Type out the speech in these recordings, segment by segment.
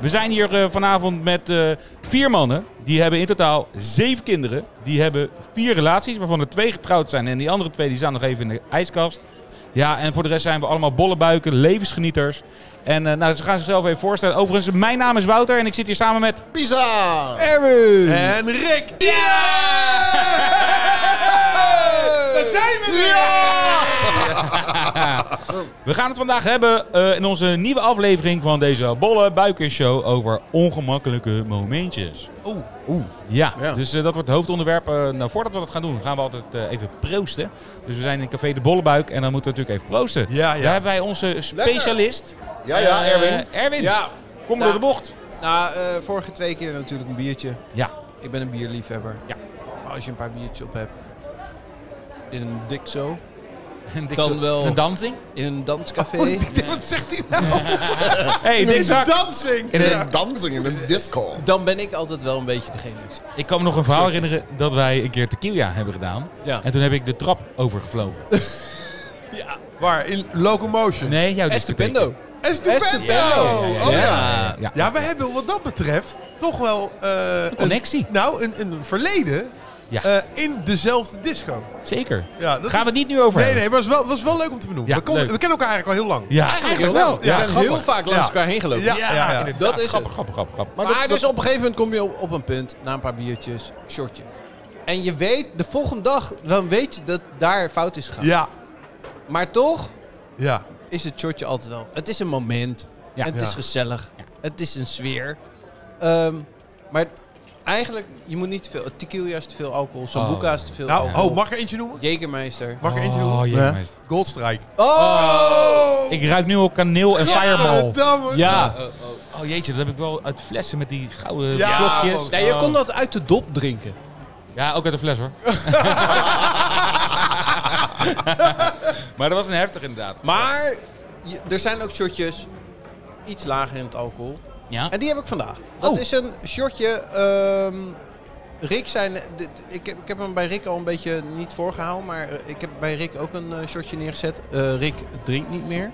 We zijn hier eh, vanavond met eh, vier mannen. Die hebben in totaal zeven kinderen. Die hebben vier relaties, waarvan er twee getrouwd zijn. En die andere twee die staan nog even in de ijskast. Ja, en voor de rest zijn we allemaal bollebuiken, levensgenieters. En eh, nou, ze gaan zichzelf even voorstellen. Overigens, mijn naam is Wouter en ik zit hier samen met... Pisa! Erwin! En Rick! Daar zijn we weer! We gaan het vandaag hebben eh, in onze nieuwe aflevering van deze Bolle Buiken Show over ongemakkelijke momentjes. Oeh, oeh. Ja, Ja. dus eh, dat wordt het hoofdonderwerp. Eh, nou, voordat we dat gaan doen, gaan we altijd eh, even proosten. Dus we zijn in Café de Bollebuik en dan moeten we natuurlijk even proosten. Ja, ja. Daar hebben wij onze specialist. Ja, ja, eh, Erwin. Erwin, Ja, kom Ja. door de bocht. nou, eh, vorige twee keer natuurlijk een biertje. Ja, Ik ben een bierliefhebber. Ja. Maar als je een paar biertjes op hebt, in een dikzo, en Dick Dan zo- wel. Een dansing. in een Oh, danscafé, Wat zegt hij nou? hey, Dick Zak. dansing! In een dansing, in een disco. dan ben ik altijd wel een beetje degene die... Ik kan me nog een verhaal herinneren dat wij een keer tequila hebben gedaan. Ja. En toen heb ik de trap overgevlogen. Waar? In Locomotion? Nee, jouw Estupendo. Estupendo! Estupendo. Oh Ja, ja. ja. ja. Ja, we hebben wat dat betreft toch wel... eh, een connectie. nou, een, een verleden Ja. eh, in dezelfde disco. Zeker. Ja, dat Gaan is- we het niet nu over Nee, hebben. nee, maar het was wel, was wel leuk om te benoemen. Ja, we, konden- leuk. we kennen elkaar eigenlijk al heel lang. Ja, Eigenlijk wel. We Ja, zijn grappig. heel vaak langs Ja. elkaar heen gelopen. Ja, Ja, ja, ja. inderdaad. Dat is het. grappig, grappig, grappig, grappig. Maar, Maar dat- dus op een gegeven moment kom je op, op een punt, na een paar biertjes, shortje. En je weet, de volgende dag, dan weet je dat daar fout is gegaan. Ja, Maar toch ja. is het shortje altijd wel. Het is een moment. Ja. en het Ja. is gezellig. Het is een sfeer. Ehm, maar eigenlijk, je moet niet te veel. Tequila is te veel alcohol. Sambuca is te veel Nou, alcohol. oh, mag ik er eentje noemen? Jägermeister. Mag ik er eentje Oh, noemen? jee, Ja. meester. Goldstrike. Oh! Ik ruik nu al kaneel en fireball. Godverdamme. Ja. Oh jeetje, dat heb ik wel uit flessen met die gouden Ja, blokjes. man. Nee, je Oh. kon dat uit de dop drinken. Ja, ook uit de fles hoor. maar dat was een heftig inderdaad. Maar je- er zijn ook shotjes iets lager in het alcohol. Ja? En die heb ik vandaag. Dat Oh. is een shotje. ehm, Rick zijn. dit- ik, heb, ik heb hem bij Rick al een beetje niet voorgehouden. Maar eh, ik heb bij Rick ook een eh, shotje neergezet. Eh, Rick drinkt niet meer.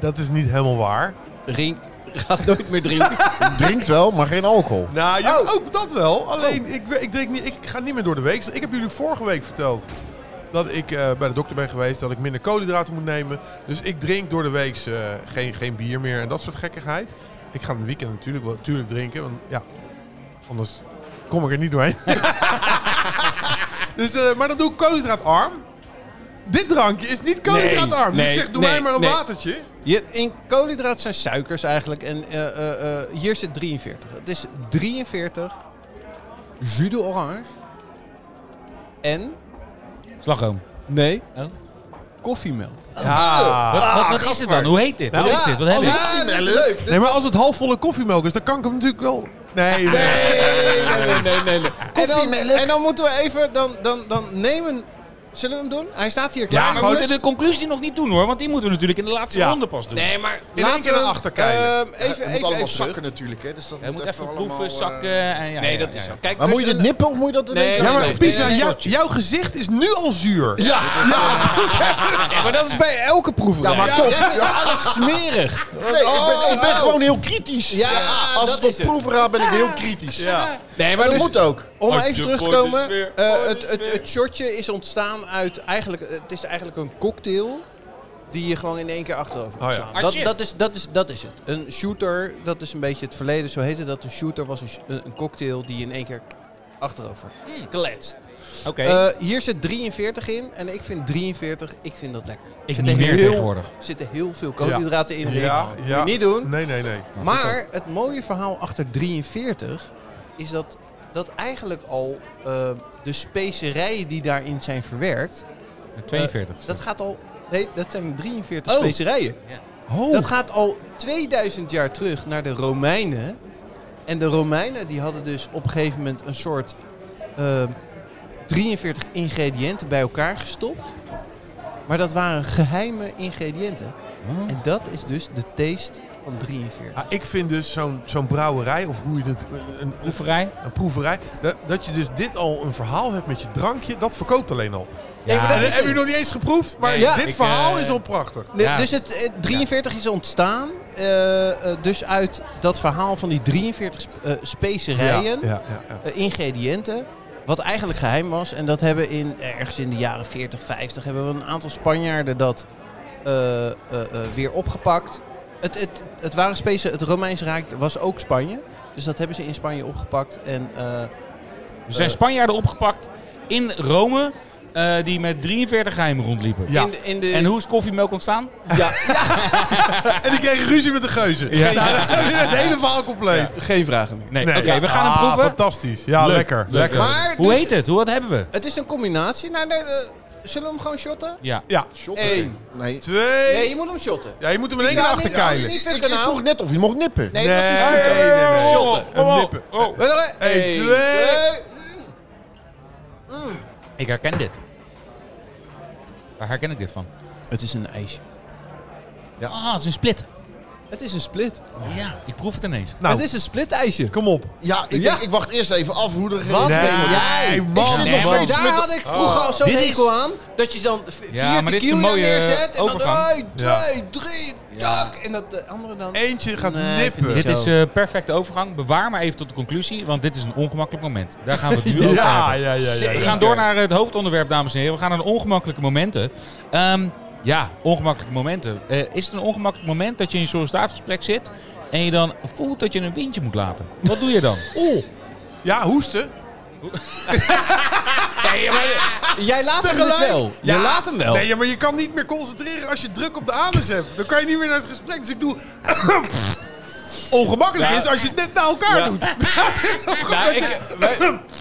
Dat is niet helemaal waar. Rick gaat nooit meer drinken. Oh. Drinkt wel, maar geen alcohol. Nou, ja, ook dat wel. Alleen, ik, we- ik, drink niet, ik ga niet meer door de week. Dus Ik heb jullie vorige week verteld dat ik eh, bij de dokter ben geweest. Dat ik minder koolhydraten moet nemen. Dus ik drink door de week eh, geen, geen bier meer en dat soort gekkigheid. Ik ga in het weekend natuurlijk wel natuurlijk drinken. Want ja, anders kom ik er niet doorheen. dus, eh, maar dan doe ik koolhydraatarm. Dit drankje is niet koolhydraatarm. Nee, dus ik nee, zeg, doe nee, mij maar een nee. watertje. Je, in koolhydraten zijn suikers eigenlijk. En eh, eh, eh, hier zit 43. Het is 43 jus de orange. En. Slagroom. Nee. Oh. Koffiemelk. Ah, Ja. Wat, wat, wat is dit dan? Hoe heet dit? Nou, wat is dit? Wat heb als- ik? Ja, dat is Melk. leuk. Nee, maar als het halfvolle koffiemelk is, dan kan ik hem natuurlijk wel... Nee, nee. nee, nee, nee. nee. En, dan, Koffiemelk. en dan moeten we even, dan, dan, dan nemen... Zullen we hem doen? Hij staat hier klaar. Ja, maar we jongens. moeten de conclusie nog niet doen hoor, want die moeten we natuurlijk in de laatste Ja. ronde pas doen. Nee, maar één laten we keer naar hem, achter kijken. ehm, even, het moet even, allemaal even zakken terug. natuurlijk, hè. Dus dat Hij moet even allemaal, proeven, eh, zakken en ja, Nee, ja, dat ja, is ja. zo. Kijk, Maar dus moet je dit een- nippen of moet je dat in één Nee, keer Ja, nee, maar nee, Pisa, nee, nee. jou- jouw gezicht is nu al zuur. Ja, ja. Ja, maar dat is bij elke proeverij. Ja, maar toch. Ja, alles smerig. Oh. Nee, ik ben, ik ben gewoon heel kritisch. Ja, Als dat het is op het. proeven gaat, ben ik heel kritisch. Nee, maar Maar dat dus, moet ook. Om Uit even Oh, de terug te komen, gooit de eh, sfeer. het, het, het shotje is ontstaan uit eigenlijk, het is eigenlijk een cocktail die je gewoon in één keer achterover moet Oh ja. slaan. dat, dat, is, dat, is, dat is het. Een shooter, dat is een beetje het verleden, zo heette dat. Een shooter was een, sh- een een cocktail die je in één keer achterover kletst. Oké, Eh, hier zit 43 in en ik vind 43, ik vind dat lekker. ik Zit niet er meer heel- tegenwoordig. zitten heel veel koolhydraten in. Ja, Moet je ja. Niet doen. Nee, nee, nee. Maar het mooie verhaal achter 43 is dat, dat eigenlijk al eh, de specerijen die daarin zijn verwerkt, eh, Met 42. dat gaat al. Nee, dat zijn 43 Oh. specerijen. Oh, Dat gaat al 2000 jaar terug naar de Romeinen. En de Romeinen die hadden dus op een gegeven moment een soort eh, 43 ingrediënten bij elkaar gestopt. Maar dat waren geheime ingrediënten. Oh. En dat is dus de taste van 43. Ah, ik vind dus zo'n zo'n brouwerij, of hoe je het, een, een, Proeverij? een proeverij, dat, dat je dus dit al een verhaal hebt met je drankje, dat verkoopt alleen al. Ja, maar dat En dat is heb je het. nog niet eens geproefd, maar Nee, dit ik, verhaal eh, is al prachtig. Nee, Ja. Dus het, eh, 43 is ontstaan. eh, eh, dus uit dat verhaal van die 43 sp- eh, specerijen, Ja, ja, ja. eh, ingrediënten. Wat eigenlijk geheim was. En dat hebben in eh, ergens in de jaren 40, 50 hebben we een aantal Spanjaarden dat eh, eh, eh, weer opgepakt. Het, het, het waren specie, het Romeins Rijk was ook Spanje. Dus dat hebben ze in Spanje opgepakt. En eh, Er zijn Spanjaarden opgepakt in Rome eh, die met 43 geheimen rondliepen. Ja. eh, in, de- in de. En hoe is koffiemelk ontstaan? Ja, En die kregen ruzie met de geuzen. Ja. Nou, dan hebben we het hele verhaal compleet. geen vragen meer. Nee, oké, we gaan hem Ah, proeven. Fantastisch. Ja, Leuk, lekker. leuk. lekker. Maar Hoe dus- heet het? Hoe, wat hebben we? Het is een combinatie. Nou, nee, eh, zullen we hem gewoon shotten? Ja. Ja, Eén. Nee. twee. Nee, je moet hem shotten. Ja, je moet hem in één Ik keer zou achterkeilen. niet- Nee, niet- Ik, ik vroeg net of je mocht nippen. Nee, dat is een nee, shotter. nee, nee, nee. Shotten. Oh, oh, Een nippen. Eh, oh. Weet je wel, hè? Eén, Eén, twee. Ik herken dit. Waar herken ik dit van? Het is een ijsje. Ah, het is een split. Het is een split. Ja, ik proef het ineens. Nou, Het is een split ijsje. kom op. Ja, ik, Ja. denk, ik wacht eerst even af hoe er... Wat? Nee. ben jij? Nee, man. Ik zit Nee, nog man. steeds Daar met... had ik vroeger al zo'n Dit is- hekel aan. Dat je dan v- Ja, vier maar dit is tequila een mooie neerzet. En overgang. dan 1, 2, Ja. 3, Ja. tak. En dat de andere dan... Eentje gaat Nee, ik nippen. vind Dit Zo. is eh perfecte overgang. Bewaar maar even tot de conclusie, want dit is een ongemakkelijk moment. Daar gaan we het nu over ja, ja, hebben. ja, ja, ja. We gaan door naar het hoofdonderwerp, dames en heren. We gaan naar de ongemakkelijke momenten. Ehm, ja, ongemakkelijke momenten. Eh, is het een ongemakkelijk moment dat je in een sollicitatiegesprek zit en je dan voelt dat je een windje moet laten? Wat doe je dan? Oeh. Ja, hoesten. Jij laat hem dus Tegelijk. wel. Ja. Je laat hem wel. Nee, ja, maar je kan niet meer concentreren als je druk op de anus hebt. Dan kan je niet meer naar het gesprek. Dus ik doe... Ongemakkelijk is als je het net na elkaar Ja. doet. Nou, ik, Oh, wij-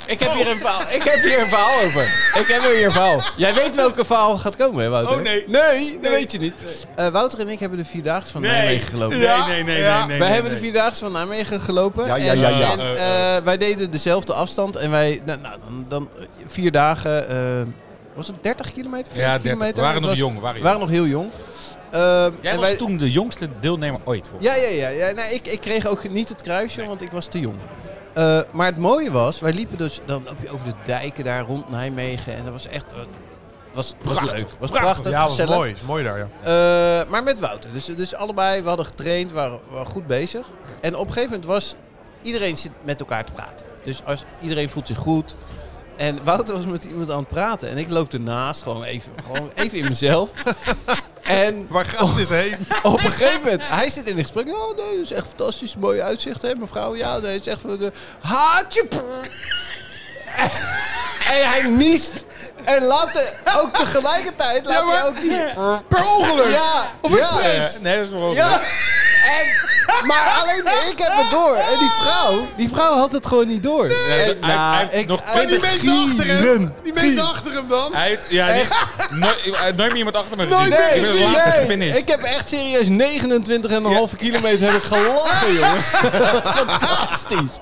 ik, heb hier een verhaal, ik heb hier een verhaal over. Ik heb hier een verhaal. Jij weet welke verhaal gaat komen, hè, Wouter? Oh, nee. Nee, dat weet je niet. Eh, Wouter en ik hebben de Vierdaagse van Nijmegen gelopen. Ja, ja. wij hebben de Vierdaagse van Nijmegen gelopen. Ja, ja, ja, En, ja. en, eh, wij deden dezelfde afstand. En wij, nou, nou, dan, dan eh, vier dagen, eh, was het 30 kilometer? 40 Ja, 30. kilometer? We waren Het nog was- jong. we Waren We jong. waren nog heel jong. Ehm, Jij en was wij- toen de jongste deelnemer ooit. volgens ja, ja, ja. ja. Nee, ik, ik kreeg ook niet het kruisje, want ik was te jong. Eh, maar het mooie was, wij liepen dus, dan loop je over de dijken daar rond Nijmegen. En dat was echt, eh, was, was Prachtig. leuk. Was Prachtig. prachtig, Ja, was gezellig. mooi. Is mooi daar, ja. Eh, maar met Wouter. Dus, dus allebei, we hadden getraind, waren, waren goed bezig. En op een gegeven moment was iedereen zit met elkaar te praten. Dus als, iedereen voelt zich goed. En Wouter was met iemand aan het praten. En ik loop ernaast, gewoon even, gewoon even in mezelf. En Waar gaat dit heen? op een gegeven moment, hij zit in een gesprek. Oh nee, dat is echt fantastisch. Mooi uitzicht, hè, mevrouw? Ja, nee, het is echt van de haatje. En hij niest. En later, ook tegelijkertijd, laat hij ook die... Per ongeluk. Ja, Op ja. mij. expres. Eh, nee, dat is wel Ja. En, maar alleen ik heb het door. En die vrouw, die vrouw had het gewoon niet door. Nee, En, dat- hij- nou, hij- ik- nog hij- Maar die mensen achter hem. Gieren. Die mensen achter hem dan. Hij, ja, die- nooit, eh, nooit meer iemand achter me gezien. meer ik ben de gezien, laatste Nee, gefinished. ik heb echt serieus 29,5 kilometer heb ik gelachen, jongen. Fantastisch.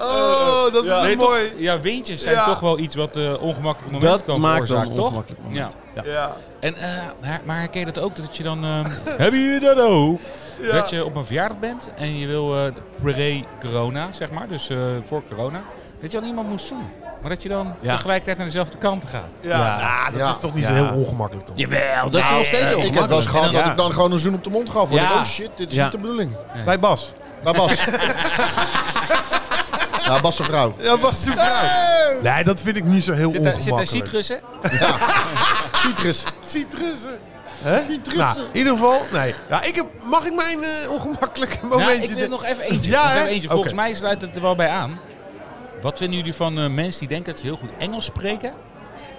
Oh, dat is Nee, toch- mooi. ja, windjes zijn Ja, toch wel iets wat eh ongemakkelijk moment Dat kan maakt wel veroorzaken, een toch? ongemakkelijk moment. Ja. Ja. Ja. En, eh, maar, maar herken je dat ook, dat je dan... ehm, hebben jullie dat ook? Ja. Dat je op een verjaardag bent en je wil eh, pre-corona, zeg maar, dus eh, voor corona, dat je dan iemand moest zoenen. Maar dat je dan Ja. tegelijkertijd naar dezelfde kant gaat. Ja. Nou, dat Ja. is toch niet Ja. heel ongemakkelijk, toch? Jawel, dat is nog steeds Eh, Ik heb wel eens ongemakkelijk. gehad dat Ja. ik dan gewoon een zoen op de mond gaf. Ja. Ja. oh shit, dit is Ja. niet de bedoeling. Bij Bas. Bij Bas. ja, Bas zijn vrouw. Ja, Bas de vrouw. Nee, dat vind ik niet zo heel Zit daar, zit daar ongemakkelijk. citrus, hè? Citrus. Citrussen. Nou, in ieder geval, nee. Ja, ik heb, mag ik mijn eh, ongemakkelijke Nou, momentje... ik wil dit- nog even eentje. Ja, Nog hè? even eentje. Volgens Oké. mij sluit het er wel bij aan. Wat vinden jullie van eh, mensen die denken dat ze heel goed Engels spreken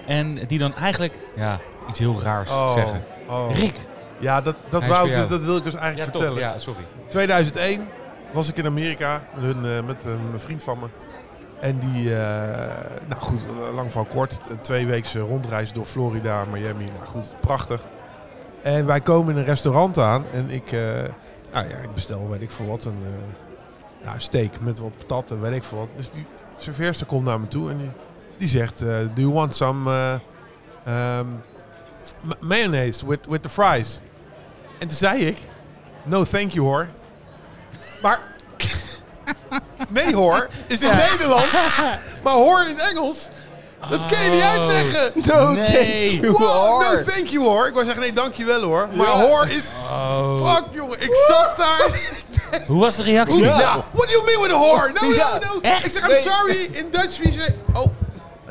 en die dan eigenlijk ja, iets heel raars Oh, zeggen? oh. Rick. Ja, dat, dat, Hij is wou, voor ik- jou. dat, dat wil ik dus Ja, eigenlijk toch. vertellen. Ja, sorry. 2001 was ik in Amerika met, hun, eh, met eh, een vriend van me. En die, eh, nou goed, lang van kort, een tweeweekse rondreis door Florida, Miami. Nou goed, prachtig. En wij komen in een restaurant aan en ik, eh, nou ja, ik bestel, weet ik veel wat, een eh, nou, steak met wat patat en weet ik veel wat. Dus die serveerster komt naar me toe en die, die zegt, eh, do you want some eh, ehm, ma- mayonnaise with, with the fries? En toen zei ik, no thank you hoor. Maar. Nee hoor, is in Nederland. Maar hoor in het Engels. Dat kun je niet uitleggen. No, Nee. thank you, Wow, hoor. no thank you hoor. Ik wou zeggen nee, dankjewel hoor. Maar Ja. hoor is... Fuck jongen, ik zat daar. Hoe was de reactie? Ja. What do you mean with a whore? No, Ja. no, no. Echt? Ik zeg, I'm Nee. sorry. In Dutch we say... Oh.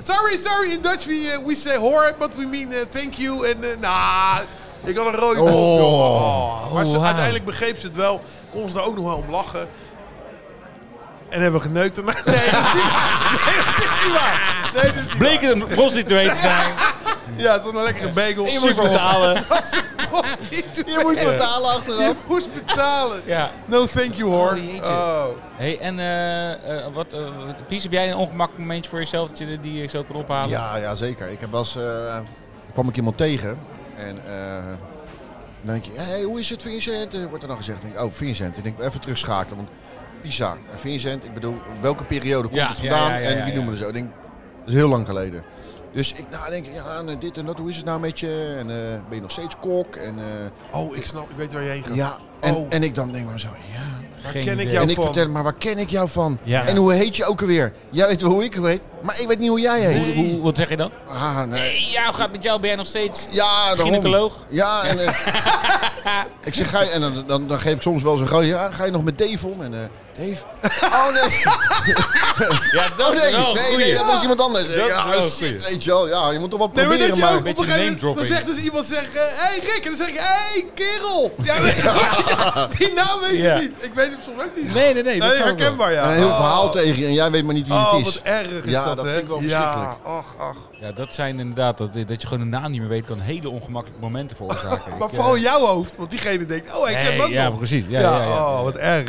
Sorry, sorry. In Dutch we, uh, we say whore, but we mean eh, thank you. En eh, nah, ik had een rode kop. Oh. joh. Oh. Maar ze, Wauw. uiteindelijk begreep ze het wel. Kon ze daar ook nog wel om lachen. En hebben we geneukt. daarna. Nee, dat is niet waar. Nee, dat is niet waar. Nee, dat is niet Bleek het een prostituee te zijn. waar. Ja, het was een lekkere bagel. Je moest betalen. Dat is een prostituee. Je moet betalen achteraf. Je moest betalen. Ja. No, thank you, hoor. Oh, jeetje. Oh. Hey, en eh, eh, wat, eh, wat- Pies, heb jij een ongemakkelijk momentje voor jezelf dat je die eh, zo kan ophalen? Ja, ja, zeker. Ik heb wel eens, eh, kwam ik iemand tegen en eh, dan denk je, hey, hoe is het Vincent? En Wordt er dan gezegd, denk ik, oh Vincent. Ik denk even terugschakelen, want Pisa en Vincent, ik bedoel, welke periode komt Ja, het ja, vandaan ja, ja, en ja, wie ja. noemen we zo? Ik denk, dat is heel lang geleden. Dus ik nou, denk, ja, en dit en dat, hoe is het nou met je? En eh, ben je nog steeds kok? En, eh, Oh, ik snap. Ik weet waar je heen gaat. ja, en, Oh. en ik dan denk maar zo, ja. Waar Geen ken ik idee. jou En ik van? vertel, maar waar ken ik jou van? Ja. En hoe heet je ook alweer? Jij weet wel hoe ik heet, maar ik weet niet hoe jij heet. Hoe- hoe- wat zeg je dan? Ah, nee. Ja, hoe gaat het met jou? Ben jij nog steeds Ja, daarom. gynaecoloog? Ja, en, eh, ik zeg, ga je, en dan, dan, dan geef ik soms wel eens een gooi. Ja, ga je nog met Dave om? En eh, Dave? Oh nee, Ja, oh, nee. nee, nee, dat was iemand anders. is ja, wel een shit, goeie. weet je wel. Ja, je moet toch wat Nee, maar proberen, dat je maar... ook op Beetje een gegeven name moment... Dan dropping. zegt dus iemand, zegt, eh, hey Rick. En dan zeg ik, hey kerel. Ja, weet je wel, Die naam weet Ja. je niet. Ik weet hem soms ook niet. Nee, nee, nee. Dat Nee, kan ook wel. herkenbaar ja. En een heel Oh. verhaal tegen je en jij weet maar niet wie Oh, het wat is. erg is Ja, dat, dat hè? vind ik wel verschrikkelijk. Ja, ach, ach. Ja, dat zijn inderdaad, dat, dat je gewoon de naam niet meer weet, kan hele ongemakkelijke momenten veroorzaken. Maar Ik, vooral eh, jouw hoofd. Want diegene denkt, oh, ik ken hem nee, ook ja, nog. precies. Ja, Ja, ja, ja, oh, wat erg.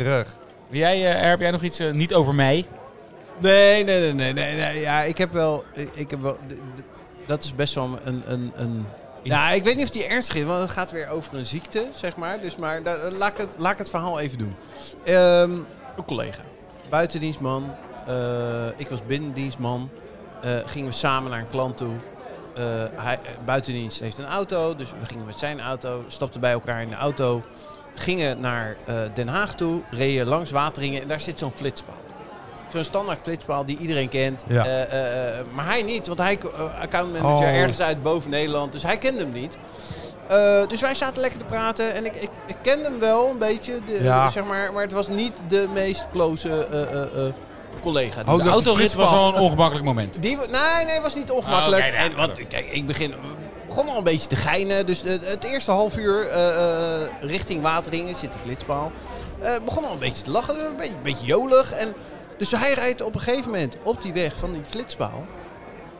Jij, eh, Er, heb jij nog iets eh, niet over mij? Nee, nee, nee, nee, nee, nee. Ja, ik heb wel. Ik, ik heb wel d- d- dat is best wel een. een, een nou, ik weet niet of die ernstig is, want het gaat weer over een ziekte, zeg maar. Dus maar da- laat, ik het, laat ik het verhaal even doen. Ehm, een collega, buitendienstman. eh, ik was binnendienstman. eh, gingen we samen naar een klant toe. Eh, hij, eh, buitendienst heeft een auto, dus we gingen met zijn auto. Stapten bij elkaar in de auto. Gingen naar eh, Den Haag toe, reden langs Wateringen en daar zit zo'n flitspaal. Zo'n standaard flitspaal die iedereen kent. Ja. Eh, eh, eh, maar hij niet, want hij eh, accountmanager Oh. ergens uit boven Nederland. Dus hij kende hem niet. Eh, dus wij zaten lekker te praten en ik, ik, ik kende hem wel een beetje. De, Ja. zeg maar, maar het was niet de meest close eh, eh, eh, collega. die Oh, we De dat- autorit was flitsbal. al een ongemakkelijk moment. die, wa- nee, nee, was niet ongemakkelijk. Oh, oké, nou, en, want kijk, ik begin, begon al een beetje te geinen. Dus de- het eerste half uur eh, eh, richting Wateringen zit die flitspaal. Eh begon al een beetje te lachen, een beetje, een beetje jolig. En, dus hij rijdt op een gegeven moment op die weg van die flitspaal.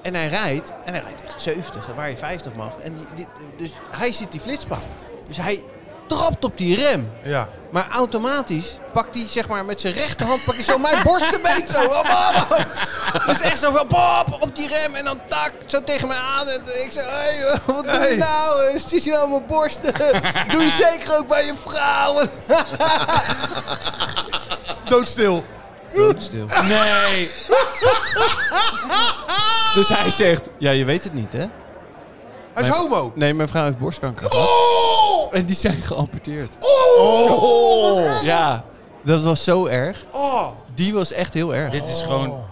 En hij rijdt, en hij rijdt echt 70, waar je 50 mag. En die, die- dus hij ziet die flitspaal. Dus hij trapt op die rem. Ja. Maar automatisch pakt hij zeg maar met zijn rechterhand pakt hij zo mijn borst een beetje zo. Wauw, wauw, wauw. Dus echt zo van pop op die rem en dan tak zo tegen mij aan. En ik zeg, hey, eh, wat doe Hey. je nou? Het is hier aan mijn borsten. Doe je zeker ook bij je vrouw. Doodstil. Doodstil. Nee. Dus hij zegt, ja je weet het niet hè? Hij is Nee. homo. Nee, mijn vrouw heeft borstkanker. Oh! En die zijn geamputeerd. Oh! Ja, dat was zo erg. Oh! Die was echt heel erg. Dit is gewoon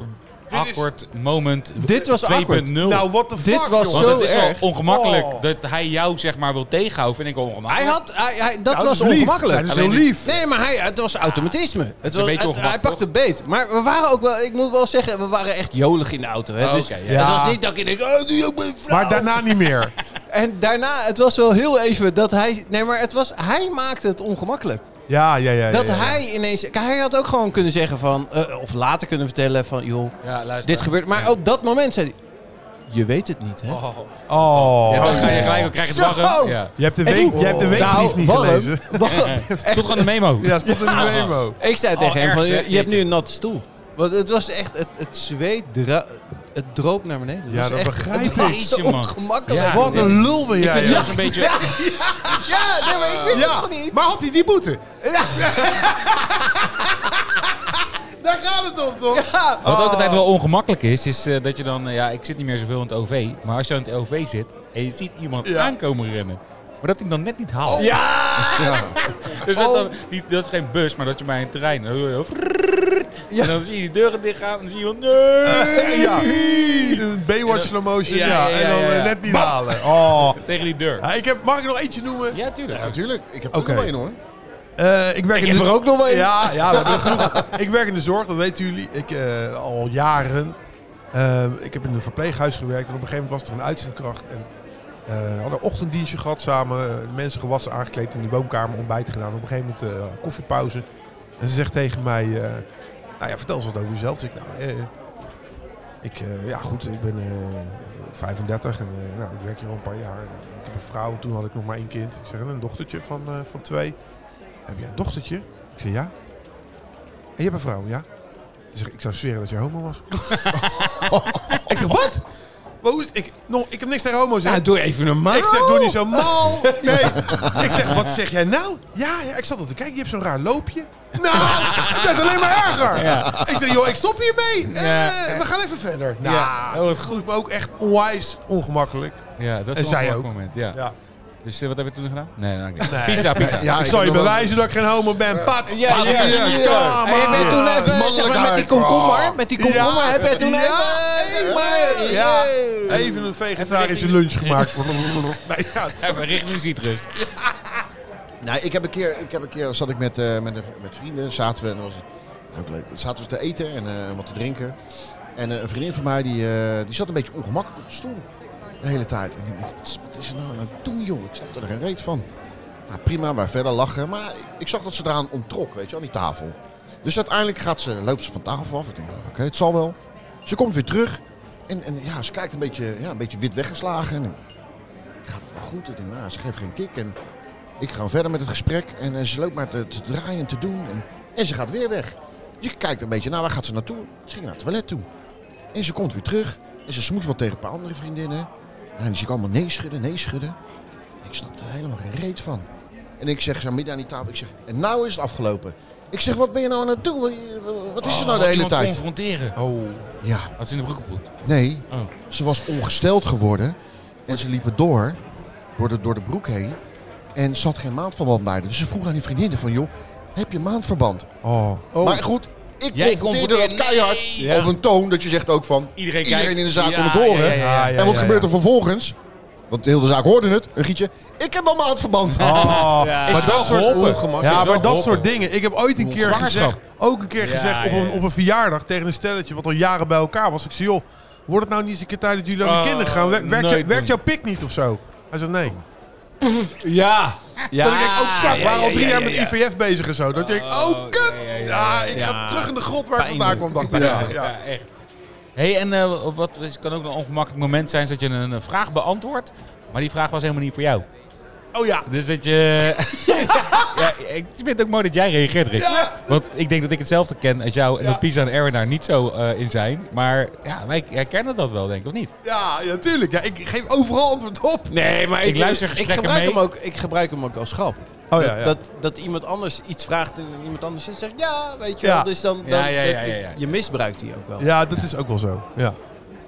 Dit is- awkward moment Oh. Dit was 2.0. awkward. Nou, what the fuck, Dit was jongen. Want zo het is erg. wel ongemakkelijk Oh. dat hij jou zeg maar wil tegenhouden. Vind ik wel Hij ongemakkelijk. had, hij, hij- dat Nou, was dat is lief. ongemakkelijk. Ja, dat is Alleen heel lief. Nee, maar hij, het was automatisme. Het was, beetje hij, ongemakkelijk, hij pakte beet. Maar we waren ook wel, ik moet wel zeggen, we waren echt jolig in de auto. Hè? Oh, dus oké, ja. Het Ah, Ja. was niet dat ik denk, oh, die ook mijn vrouw. Maar daarna niet meer. En daarna, het was wel heel even dat hij, nee, maar het was, hij maakte het ongemakkelijk. Ja, ja, ja. ja, Dat ja. hij ineens, kijk, hij had ook gewoon kunnen zeggen van, eh, of later kunnen vertellen van, joh, Ja, luister. dit gebeurt. Maar op dat moment zei hij, je weet het niet, hè? Oh. Oh. Ja, dan ga je gelijk ook krijgen het Zo. warm. Ja. Je hebt de, En week, hoe- je hebt de weekbrief Nou, niet warm, gelezen. warm. Stond gewoon de memo. Ja, stond in de memo. Ik zei tegen Oh, hem, erg, van, je, zeg, je hebt nu jeetje. een natte stoel. Want het was echt, het, het zweet, dra- het droop naar beneden. Het Ja, was dat echt, begrijp het ik. was Jeetje, zo man. ongemakkelijk. Ja. Wat een lul ben jij. Ik vind joh. het ook een beetje... Ja, nee, maar ik wist het nog niet. maar had hij die boete? Daar gaat het om, toch? Ja. Wat ook altijd wel ongemakkelijk is, is eh, dat je dan... eh, ja, ik zit niet meer zoveel in het OV. Maar als je dan in het OV zit en je ziet iemand Ja. aankomen rennen. Maar dat hij hem dan net niet haalt. Ja. Dus dat, dan, die, dat is geen bus, maar dat je bij een trein. dan hoor je zo frrrrrrrr. En dan zie je die deuren dichtgaan en dan zie je van nee! Ja. Een Baywatch slow motion, Ja, ja, ja. ja, En dan eh, ja. net niet halen. Oh. Tegen die deur. Ja, ik heb, mag ik nog eentje noemen? Ja, tuurlijk. Natuurlijk, ik heb ook Oké. nog één hoor. Eh, ik werk Ik in heb de- er ook nog wel een. Ja, ja we hebben er genoeg. ik werk in de zorg, dat weten jullie. Ik, eh, al jaren. Eh, ik heb in een verpleeghuis gewerkt en op een gegeven moment was er een uitzendkracht. En, eh, we hadden een ochtenddienstje gehad samen. eh, de mensen gewassen, aangekleed in die woonkamer, ontbijt gedaan. Op een gegeven moment eh, koffiepauze. En ze zegt tegen mij, eh, nou ja, vertel eens wat over jezelf. Dus ik, nou, eh, ik, eh, ja goed, ik ben eh, 35 en eh, nou, ik werk hier al een paar jaar. Ik heb een vrouw, toen had ik nog maar één kind. Ik zeg, en een dochtertje van, eh, van twee. Heb jij een dochtertje? Ik zeg, ja. En je hebt een vrouw, ja? Ze zegt, ik zou zweren dat je homo was. ik zeg, wat? Maar hoe is, ik, nog, ik heb niks tegen homo's. hè? Ja, doe even normaal. Ik zeg, doe niet Oh. zo mal. Nee. Ik zeg, wat zeg jij nou? Ja, ja ik zat al te kijken. Je hebt zo'n raar loopje. Nou, het werd alleen maar erger. Ik zeg, joh, ik stop hiermee. Eh, Ja. we gaan even verder. Nou, Ja. Oh, wat dat vond ik me ook echt onwijs ongemakkelijk. Ja, dat En is zij een ook. moment. Ja. Ja. Dus eh, wat heb je toen gedaan? Nee, dat niet. Pizza, pizza. Ja, ik ik zal je heb nog wel- bewijzen dat ik geen homo ben. Pat. Ja, ja, ja, ja. ja. Maar je bent toen even zeg maar, met die Mannelijkheid. komkommer. Met die komkommer Ja. heb jij toen Ja. even... Ja. Maar, eh, Ja. ja. Even een vegetarische Even lunch gemaakt. nee, ja, het- Even richting citrus. Nou, ik heb een keer, ik heb een keer zat ik met, eh, met, een- met vrienden, zaten we en dat was ook leuk. Zaten we te eten en eh, wat te drinken. En eh, een vriendin van mij die, eh, die zat een beetje ongemakkelijk op de stoel de hele tijd. En ik dacht, wat is er nou aan het doen, joh? Ik snap er geen reet van. Nou, prima, wij verder lachen. Maar ik, ik zag dat ze eraan onttrok, weet je, aan die tafel. Dus uiteindelijk gaat ze, loopt ze van tafel af. Ik denk, nou, oké, het zal wel. Ze komt weer terug en, en ja, ze kijkt een beetje, ja, een beetje wit weggeslagen. En, gaat het wel goed? Ik denk, nou, ze geeft geen kick. En ik ga verder met het gesprek en eh, ze loopt maar te, te draaien en te doen. En, en ze gaat weer weg. Dus ik kijk een beetje naar waar gaat ze naartoe. Ze ging naar het toilet toe. En ze komt weer terug. En ze smoest wat tegen een paar andere vriendinnen. En die zie ik allemaal nee schudden, nee schudden. Ik snap er helemaal geen reet van. En ik zeg zo midden aan die tafel, ik zeg, en nou is het afgelopen. Ik zeg, wat ben je nou aan het doen? Wat is er nou de hele Oh, Iemand tijd? confronteren. Oh. Ja, Had ze in de broek gepoept. nee, Oh. ze was ongesteld geworden en ze liepen door, door de, door de broek heen. En ze had geen maandverband bij haar. Dus ze vroeg aan die vriendinnen van, joh, heb je maandverband? Oh. Oh. Maar goed, ik Jij confronteerde dat confronteert- keihard Nee. Ja. op een toon dat je zegt ook van, Iedereen, Iedereen kijkt. in de zaak Ja, kon het horen. ja, ja, ja. en wat gebeurt er vervolgens? Want heel de hele zaak hoorde het, een gietje, ik heb al maandverband. Oh. Is Maar wel dat soort geholpen. ongemak- Is Ja, wel maar dat geholpen. soort dingen. Ik heb ooit een keer Zwangerschap. gezegd, ook een keer Ja, gezegd op ja, een, ja. op een verjaardag tegen een stelletje wat al jaren bij elkaar was. Ik zei, joh, wordt het nou niet eens een keer tijd dat jullie aan Oh, de kinderen gaan? Wer- Werkt, jou- nooit doen. werkt jouw pik niet of zo? Hij zei, nee. Ja. Ja. dat ik denk, oh kak, we waren al drie ja, jaar ja, met ja. IVF bezig en zo. Dat je denkt, Oh, oh kut, ja, ja, ja, ja, ik ja. ga terug in de grot waar ik Pijnlijk. vandaan kwam, dacht ik. Ja, ja. echt. hey, en eh, wat het kan ook een ongemakkelijk moment zijn is dat je een, eh, vraag beantwoordt, maar die vraag was helemaal niet voor jou. Oh ja. Dus dat je. ja, ik vind het ook mooi dat jij reageert, Rick. Ja. Want ik denk dat ik hetzelfde ken als jou en Ja. dat Pisa en Erwin daar niet zo eh, in zijn. Maar ja, wij herkennen dat wel, denk ik, of niet? Ja, ja, tuurlijk. Ja, ik geef overal antwoord op. Nee, maar Ik luister ik gesprekken gebruik mee. Hem ook, ik gebruik hem ook als grap. Oh ja, ja. Dat, dat iemand anders iets vraagt en iemand anders zegt ja, weet je Ja. wel. Dus dan, dan Ja, ja, ja, dat- ja, ja. je misbruikt die ook wel. Ja, dat is ook wel zo. Ja.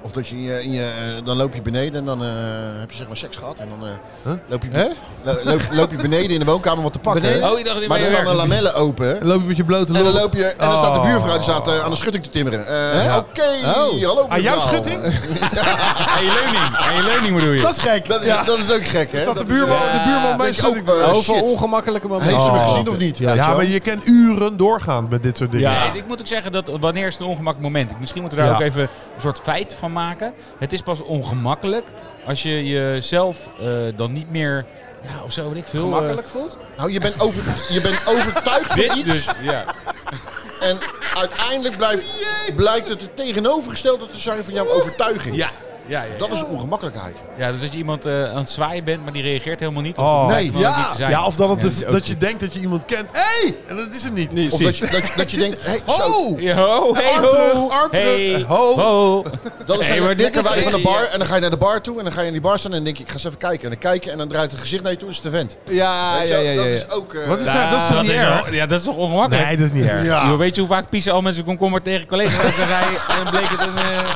Of dat je, in je, in je, eh, dan loop je beneden en dan eh, heb je zeg maar seks gehad. En dan eh, Huh? loop, je, lo- loop, loop je beneden in de woonkamer wat te pakken. Beneden? Oh, je dacht niet Maar bij er je staan de werk. lamellen open. En loop je met je blote En dan lul. loop je, en dan staat de Oh. buurvrouw die staat eh, aan de schutting te timmeren. Eh, Ja. Oké, hallo Aan Ah, jouw buurvrouw. schutting? Aan je leuning. Aan je leuning bedoel je. Dat is gek. Dat is, dat is ook gek, hè? Dat de buurman, is, eh, de buurman mijn weet je ook, schutting... eh, Over shit. Oh, ongemakkelijke momenten. Heeft ze me Oh. gezien of niet? Ja, Weet je Ja, wel? maar je kan uren doorgaan met dit soort dingen. Nee, ik moet ook zeggen dat wanneer is het een ongemakkelijk moment? Misschien moeten we daar Ja. ook even een soort feit van maken. Het is pas ongemakkelijk als je jezelf eh, dan niet meer, ja, of zo weet ik veel. eh, Gemakkelijk voelt? Nou, je bent, over, je bent overtuigd van dit iets dus, ja. en uiteindelijk blijft, blijkt het het tegenovergestelde te zijn van jouw overtuiging. Ja. Ja, ja, ja. Dat is ongemakkelijkheid. Ja, dus dat je iemand eh, aan het zwaaien bent, maar die reageert helemaal niet. Of Oh. dat blijkt Nee, hem helemaal Ja, niet te ja, zijn. of dat, het Ja, de- is dat, ook je goed. denkt dat je iemand kent. Hé! Hey! En dat Oh, is hem niet. Of dat je, dat, je- dat je denkt, hey, zo, Ho! Ja, ho, hey, Arm ho. terug, arm hey, terug. Ho. ho. dat is Nee, maar hey, dit dikke is wij van de echt- bar. En dan ga je naar de bar toe en dan ga je in die bar staan en dan denk je, ik ga eens even kijken. En dan kijk je en dan draait het gezicht naar je toe, is het de vent. Ja, Weet je ja, wel? ja, ja. Dat ja. is ook... eh, Wat is dat? Dat is toch Nou, dat niet is erg? wel- ja, dat is toch ongemakkelijk? Nee, dat is niet erg. Ja. Joh, weet je hoe vaak Pisa al met zijn komkommer tegen collega's rijden en bleek het een... eh,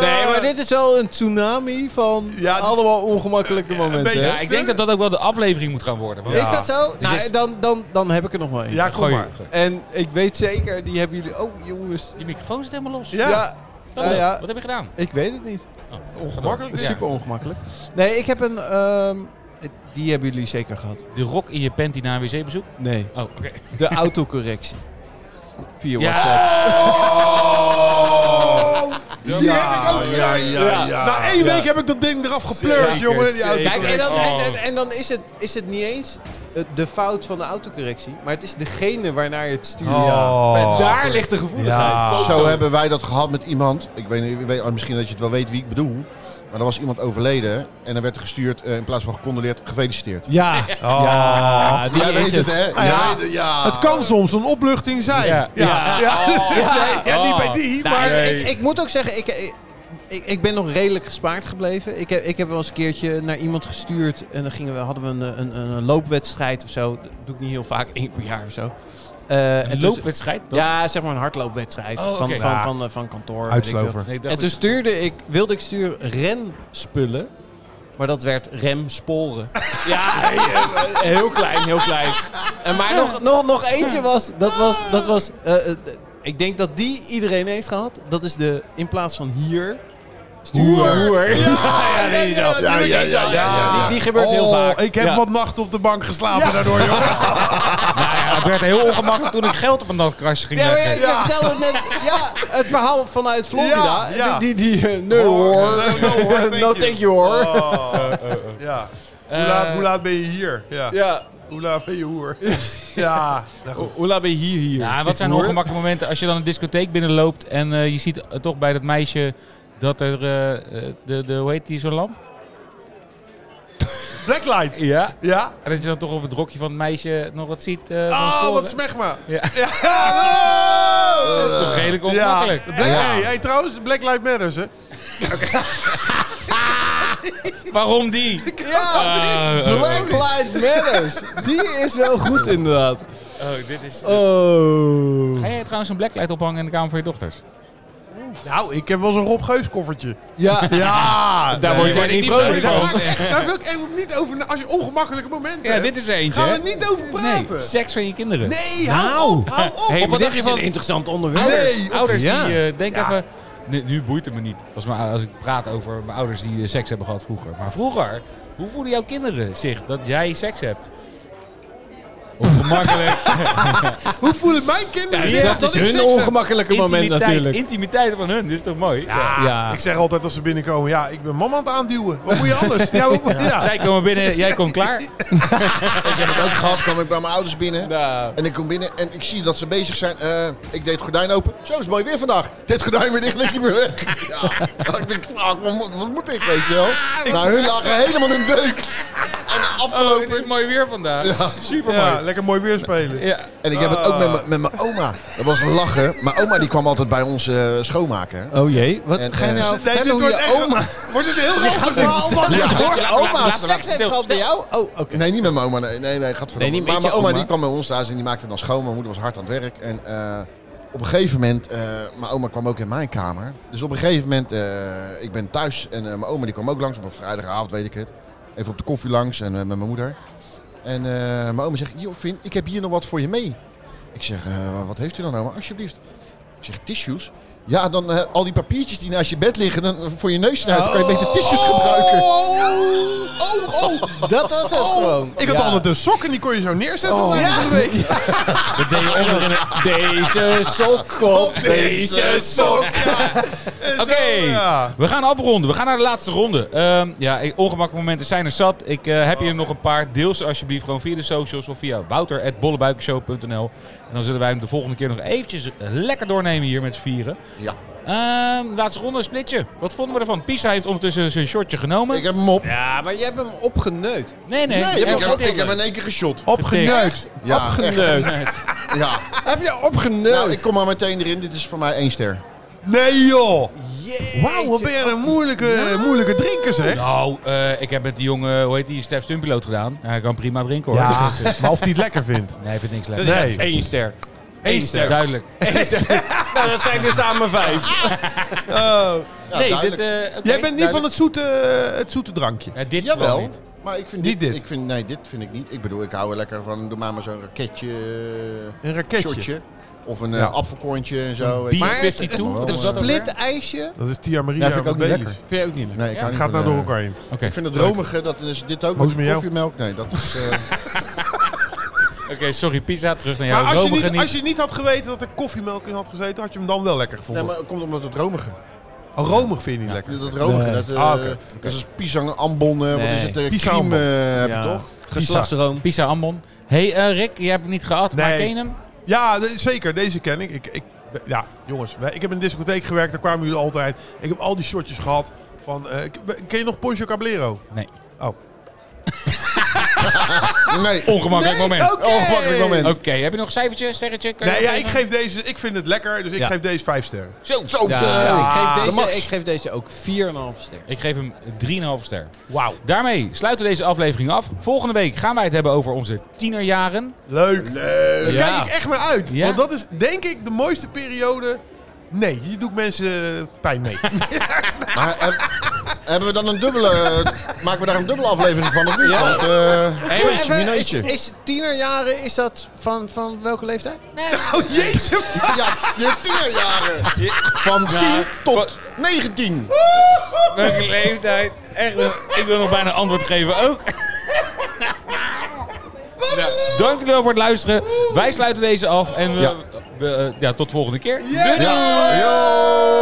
Nee, maar dit is wel een tsunami van Ja, dit is- allemaal ongemakkelijke momenten. beetje- hè? Ja, ik denk dat dat ook wel de aflevering moet gaan worden. want- Ja. Is dat zo? Nou, is- dan, dan, dan heb ik er nog maar één. Ja, kom Gooi- maar. gooi. En ik weet zeker, die hebben jullie... Oh, jongens. Die microfoon zit helemaal los. Ja. Wat ja, dan? ja. Wat heb je gedaan? ik weet het niet. Oh, Ongemakkelijk. Ja. Super ongemakkelijk. Nee, ik heb een... ehm, die hebben jullie zeker gehad. De rok in je panty na een wc-bezoek? Nee. Oh, oké. De autocorrectie. Via Ja. WhatsApp. Oh! Ja, heb ik ja, ook ja, ja, Na ja. Nou, één Ja. week heb ik dat ding eraf gepleurd, Zeker, jongen. Die auto- zeker. Kijk, en dan, en, Oh. en, en dan is, het, is het niet eens eh, de fout van de autocorrectie, maar het is degene waarnaar je het stuurt. Oh. Daar ligt de gevoeligheid. Ja. Zo hebben wij dat gehad met iemand. Ik weet, niet, ik weet- misschien dat je het wel weet wie ik bedoel. Maar er was iemand overleden en er werd gestuurd eh, in plaats van gecondoleerd, gefeliciteerd. Ja, Oh. ja die Jij is weet het, het. hè? Ah, ja. Jij weet- ja. Het kan soms een opluchting zijn. Ja. ja. Ja. Ja. Oh. Nee, ja, niet bij die, Nee, maar... nee. Ik, ik moet ook zeggen, ik, ik- ik, ik ben nog redelijk gespaard gebleven. Ik heb, ik heb wel eens een keertje naar iemand gestuurd en dan gingen we, hadden we een, een, een loopwedstrijd of zo. Dat doe ik niet heel vaak, één per jaar of zo. Eh, en Een toen- loopwedstrijd? dan? Ja, zeg maar een hardloopwedstrijd Oh, van, oké. van, Ja. van, eh, van kantoor. weet ik veel. Uitslover. Nee, ik dacht En toen dat- stuurde ik, wilde ik sturen renspullen. Maar dat werd remsporen. Ja, eh, heel klein, heel klein. En maar nog, nog, nog eentje was, dat was, dat was eh, eh, ik denk dat die iedereen heeft gehad. Dat is de, in plaats van hier, stuur. Hoer. Ja, die is al- Ja, ja, ja, ja, ja. Die, die gebeurt heel Oh, vaak. Ik heb Ja. wat nachten op de bank geslapen daardoor, jongen. Nou ja, het werd heel ongemakkelijk toen ik geld op een nachtkastje ging Ja, maar jij leggen. jij vertelde het net, ja, het verhaal vanuit Florida. Ja, ja. Die, die, die, eh, nee hoor. No, no, hoor, thank No, thank you, hoor. Oh. Ja. Hoe, Eh, laat, hoe laat ben je hier? Ja. Ja, Hoe laat ben je hoer? ja, nou goed. hoe laat ben je hier hier? Ja, en wat zijn Hoer. ongemakkelijke momenten als je dan een discotheek binnenloopt en eh, je ziet eh, toch bij dat meisje dat er, eh, eh, de, de, hoe heet die, zo'n lamp? Blacklight. Ja. Ja? En dat je dan toch op het rokje van het meisje nog wat ziet. eh, van Oh, sporen. wat smegma. Ja. Ja. Oh. Dat is toch redelijk ongemakkelijk. Ja. Black, Hey, hey, trouwens, Black Lives Matters, hè? Waarom die? Ja, Ah, oh, Black Lives Matters. Die is wel goed inderdaad. oh, dit is... Oh. Ga jij trouwens een blacklight ophangen in de kamer van je dochters? Nou, ik heb wel zo'n Rob Geus koffertje. Ja. Ja, Daar word jij niet Nee, vrolijk daar, ga van. ik echt, daar wil ik echt niet over na- Als je ongemakkelijke momenten Ja, hebt, dit is er eentje. gaan we hè? niet over praten. Nee, seks van je kinderen. Nee, hou op, hou op. Hey, maar dit is een interessant Nee, onderwerp. of- Ouders ja. die eh, denken Ja. even... Nee, nu boeit het me niet. Als, mijn, als ik praat over mijn ouders die eh, seks hebben gehad vroeger. Maar vroeger, hoe voelen jouw kinderen zich dat jij seks hebt? Ongemakkelijk. Hoe voelen mijn kinderen zich Dat is ik hun seks heb? ongemakkelijke moment intimiteit, natuurlijk. Intimiteit van hun, dit is toch mooi? Ja, Ja. Ah, ik zeg altijd als ze binnenkomen, ja, ik ben mama aan het aanduwen. Wat moet je anders? ja, wat, moet- ja. Zij komen binnen, jij komt klaar. Ik heb het ook gehad, kwam ik bij mijn ouders binnen. Nou. En ik kom binnen en ik zie dat ze bezig zijn. Eh, ik deed het gordijn open. Zo is het mooi weer vandaag. Dit gordijn weer dicht, ligt niet meer weg. Ja. Ik denk, vraag, wat, moet- wat moet ik, weet je wel? Nou, hun lagen helemaal in deuk. En Oh, het afgelopen. is mooi weer vandaag. Super Ja, mooi. lekker mooi weer spelen. Ja. En ik heb het Ah. ook met mijn- met mijn oma. Dat was een lachen. Mijn oma die kwam altijd bij ons eh, schoonmaken. hè. Oh jee, wat En, ga je eh, nou dit vertellen dit hoe wordt je echt- oma... Wordt het een heel grappig verhaal? Verhaal Ja. dat je Ja. oma Laten we- seks heeft stil, gehad bij stil. jou? Oh, oké. Nee, niet met mijn oma. Nee, nee, nee gaat voor Nee, niet met Maar je mijn oma, oma. die kwam bij ons thuis en die maakte dan schoon. Mijn moeder was hard aan het werk. En eh, op een gegeven moment, eh, mijn oma kwam ook in mijn kamer. Dus op een gegeven moment, eh, ik ben thuis en eh, mijn oma die kwam ook langs op een vrijdagavond, weet ik het. Even op de koffie langs en eh, met mijn moeder. En eh, mijn oma zegt, joh Vin, ik heb hier nog wat voor je mee. Ik zeg, eh, wat heeft u dan oma? Alsjeblieft. Ik zeg, tissues? Ja, dan eh, al die papiertjes die naast je bed liggen dan, eh, voor je neus snuiten. kan je beter tissues gebruiken. Oh, oh. Dat was het gewoon. Oh. Ik had Ja. altijd een sok en die kon je zo neerzetten. aan het einde van de week. Dat deed je onder in de- Deze sok op deze sok. En zo, Oké, ja. we gaan afronden. We gaan naar de laatste ronde. Ehm, ja, ik- ongemakkelijke momenten zijn er zat. Ik eh, heb hier nog een paar. Deel ze alsjeblieft gewoon via de socials of via wouter.bollebuikenshow.nl. En dan zullen wij hem de volgende keer nog eventjes lekker doornemen hier met z'n vieren. Ja. Ehm, laatste ronde, splitje. Wat vonden we ervan? Pisa heeft ondertussen zijn shortje genomen. Ik heb hem op. Ja, maar je hebt hem opgeneukt. nee, nee. Nee, ik, heb, hem ik heb in één keer geshot. Opgeneukt. Ja, Opgeneukt. echt. Ja. Heb je Nou, opgeneukt? ik kom maar meteen erin. Dit is voor mij één ster. Nee joh. Jeetje. Wauw, wat ben je een moeilijke, moeilijke drinker zeg. Nou, eh, ik heb met die jongen, hoe heet die, Stef Stumpiloot gedaan. Hij kan prima drinken hoor. Dus maar of die het lekker vindt. Nee, hij vindt niks lekker. Nee. Eén ster. Eén ster. Duidelijk. nou, dat zijn er samen vijf. Ja, nee, dit, duidelijk. eh, oké, Jij bent niet van duidelijk. het zoete, het zoete drankje. Ja, dit wel Jawel, niet. maar ik vind Niet dit. Ik vind, nee, dit vind ik niet. Ik bedoel, ik hou er lekker van, doe maar maar zo'n raketje. Een raketje. shotje. Of een Ja. eh, apfelkorntje en zo. Bier Maar 52. het- Een Is dat split ijsje Dat is Tia Maria. Ja, vind ik ook niet Bailey's. lekker. vind je ook niet leuk. Nee, ik Ja, hou niet Gaat van, nou door eh, elkaar heen. Oké, Ik vind het romige, dat is dit ook Hoe is met het met jou? koffiemelk. Nee, dat is... eh, Oké, sorry, Pisa, terug naar jou. Maar als je, Romige niet, als je niet had geweten dat er koffiemelk in had gezeten, had je hem dan wel lekker nee, gevonden. maar het komt omdat het romige. Oh, romig vind je niet lekker. Dat romige, Nee. dat, eh Ah, oké. dat is pisang ambon, eh, wat Nee. is het, eh, Pisang crème eh, heb je Ja. toch? Geslachtsroom. Pisa Ambon. hey, eh, Rick, je hebt hem niet gehad, maar Nee. ken je hem? Ja, de- zeker. Deze ken ik. ik, ik ja, jongens, wij- ik heb in een discotheek gewerkt, daar kwamen jullie altijd. Ik heb al die shotjes gehad. Van, eh, k- ken je nog Poncho Cablero? Nee. Oh. Nee. Ongemakkelijk moment. Oh, ongemakkelijk moment. Oké, heb je nog een cijfertje, sterretje? Kan je Nee, nog ja, ik geven? geef deze, ik vind het lekker, dus ik Ja. geef deze vijf sterren. Zo, zo. eh, Ja, Ja, ik, de geef max. deze, ik geef deze ook 4,5 ster. Ik geef hem 3,5 ster. Wauw. Daarmee sluiten we deze aflevering af. Volgende week gaan wij het hebben over onze tienerjaren. Leuk. Daar Ja. kijk ik echt naar uit. Ja. Want dat is denk ik de mooiste periode. Nee, je doet mensen pijn mee. Maar heb- hebben we dan een dubbele... eh, maken we daar een dubbele aflevering van of niet? Want, eh, Hey, jeetje, Even, is, mineetje. is tienerjaren, is dat van, van welke leeftijd? oh, jezus. Ja, je tienerjaren. Van 10 tot 19. Leuke leeftijd. Echt, eh, ik wil nog bijna antwoord geven ook. Nou, dank jullie wel voor het luisteren. Wij sluiten deze af en we, Ja. we, eh, ja, tot de volgende keer. Ja. Yo.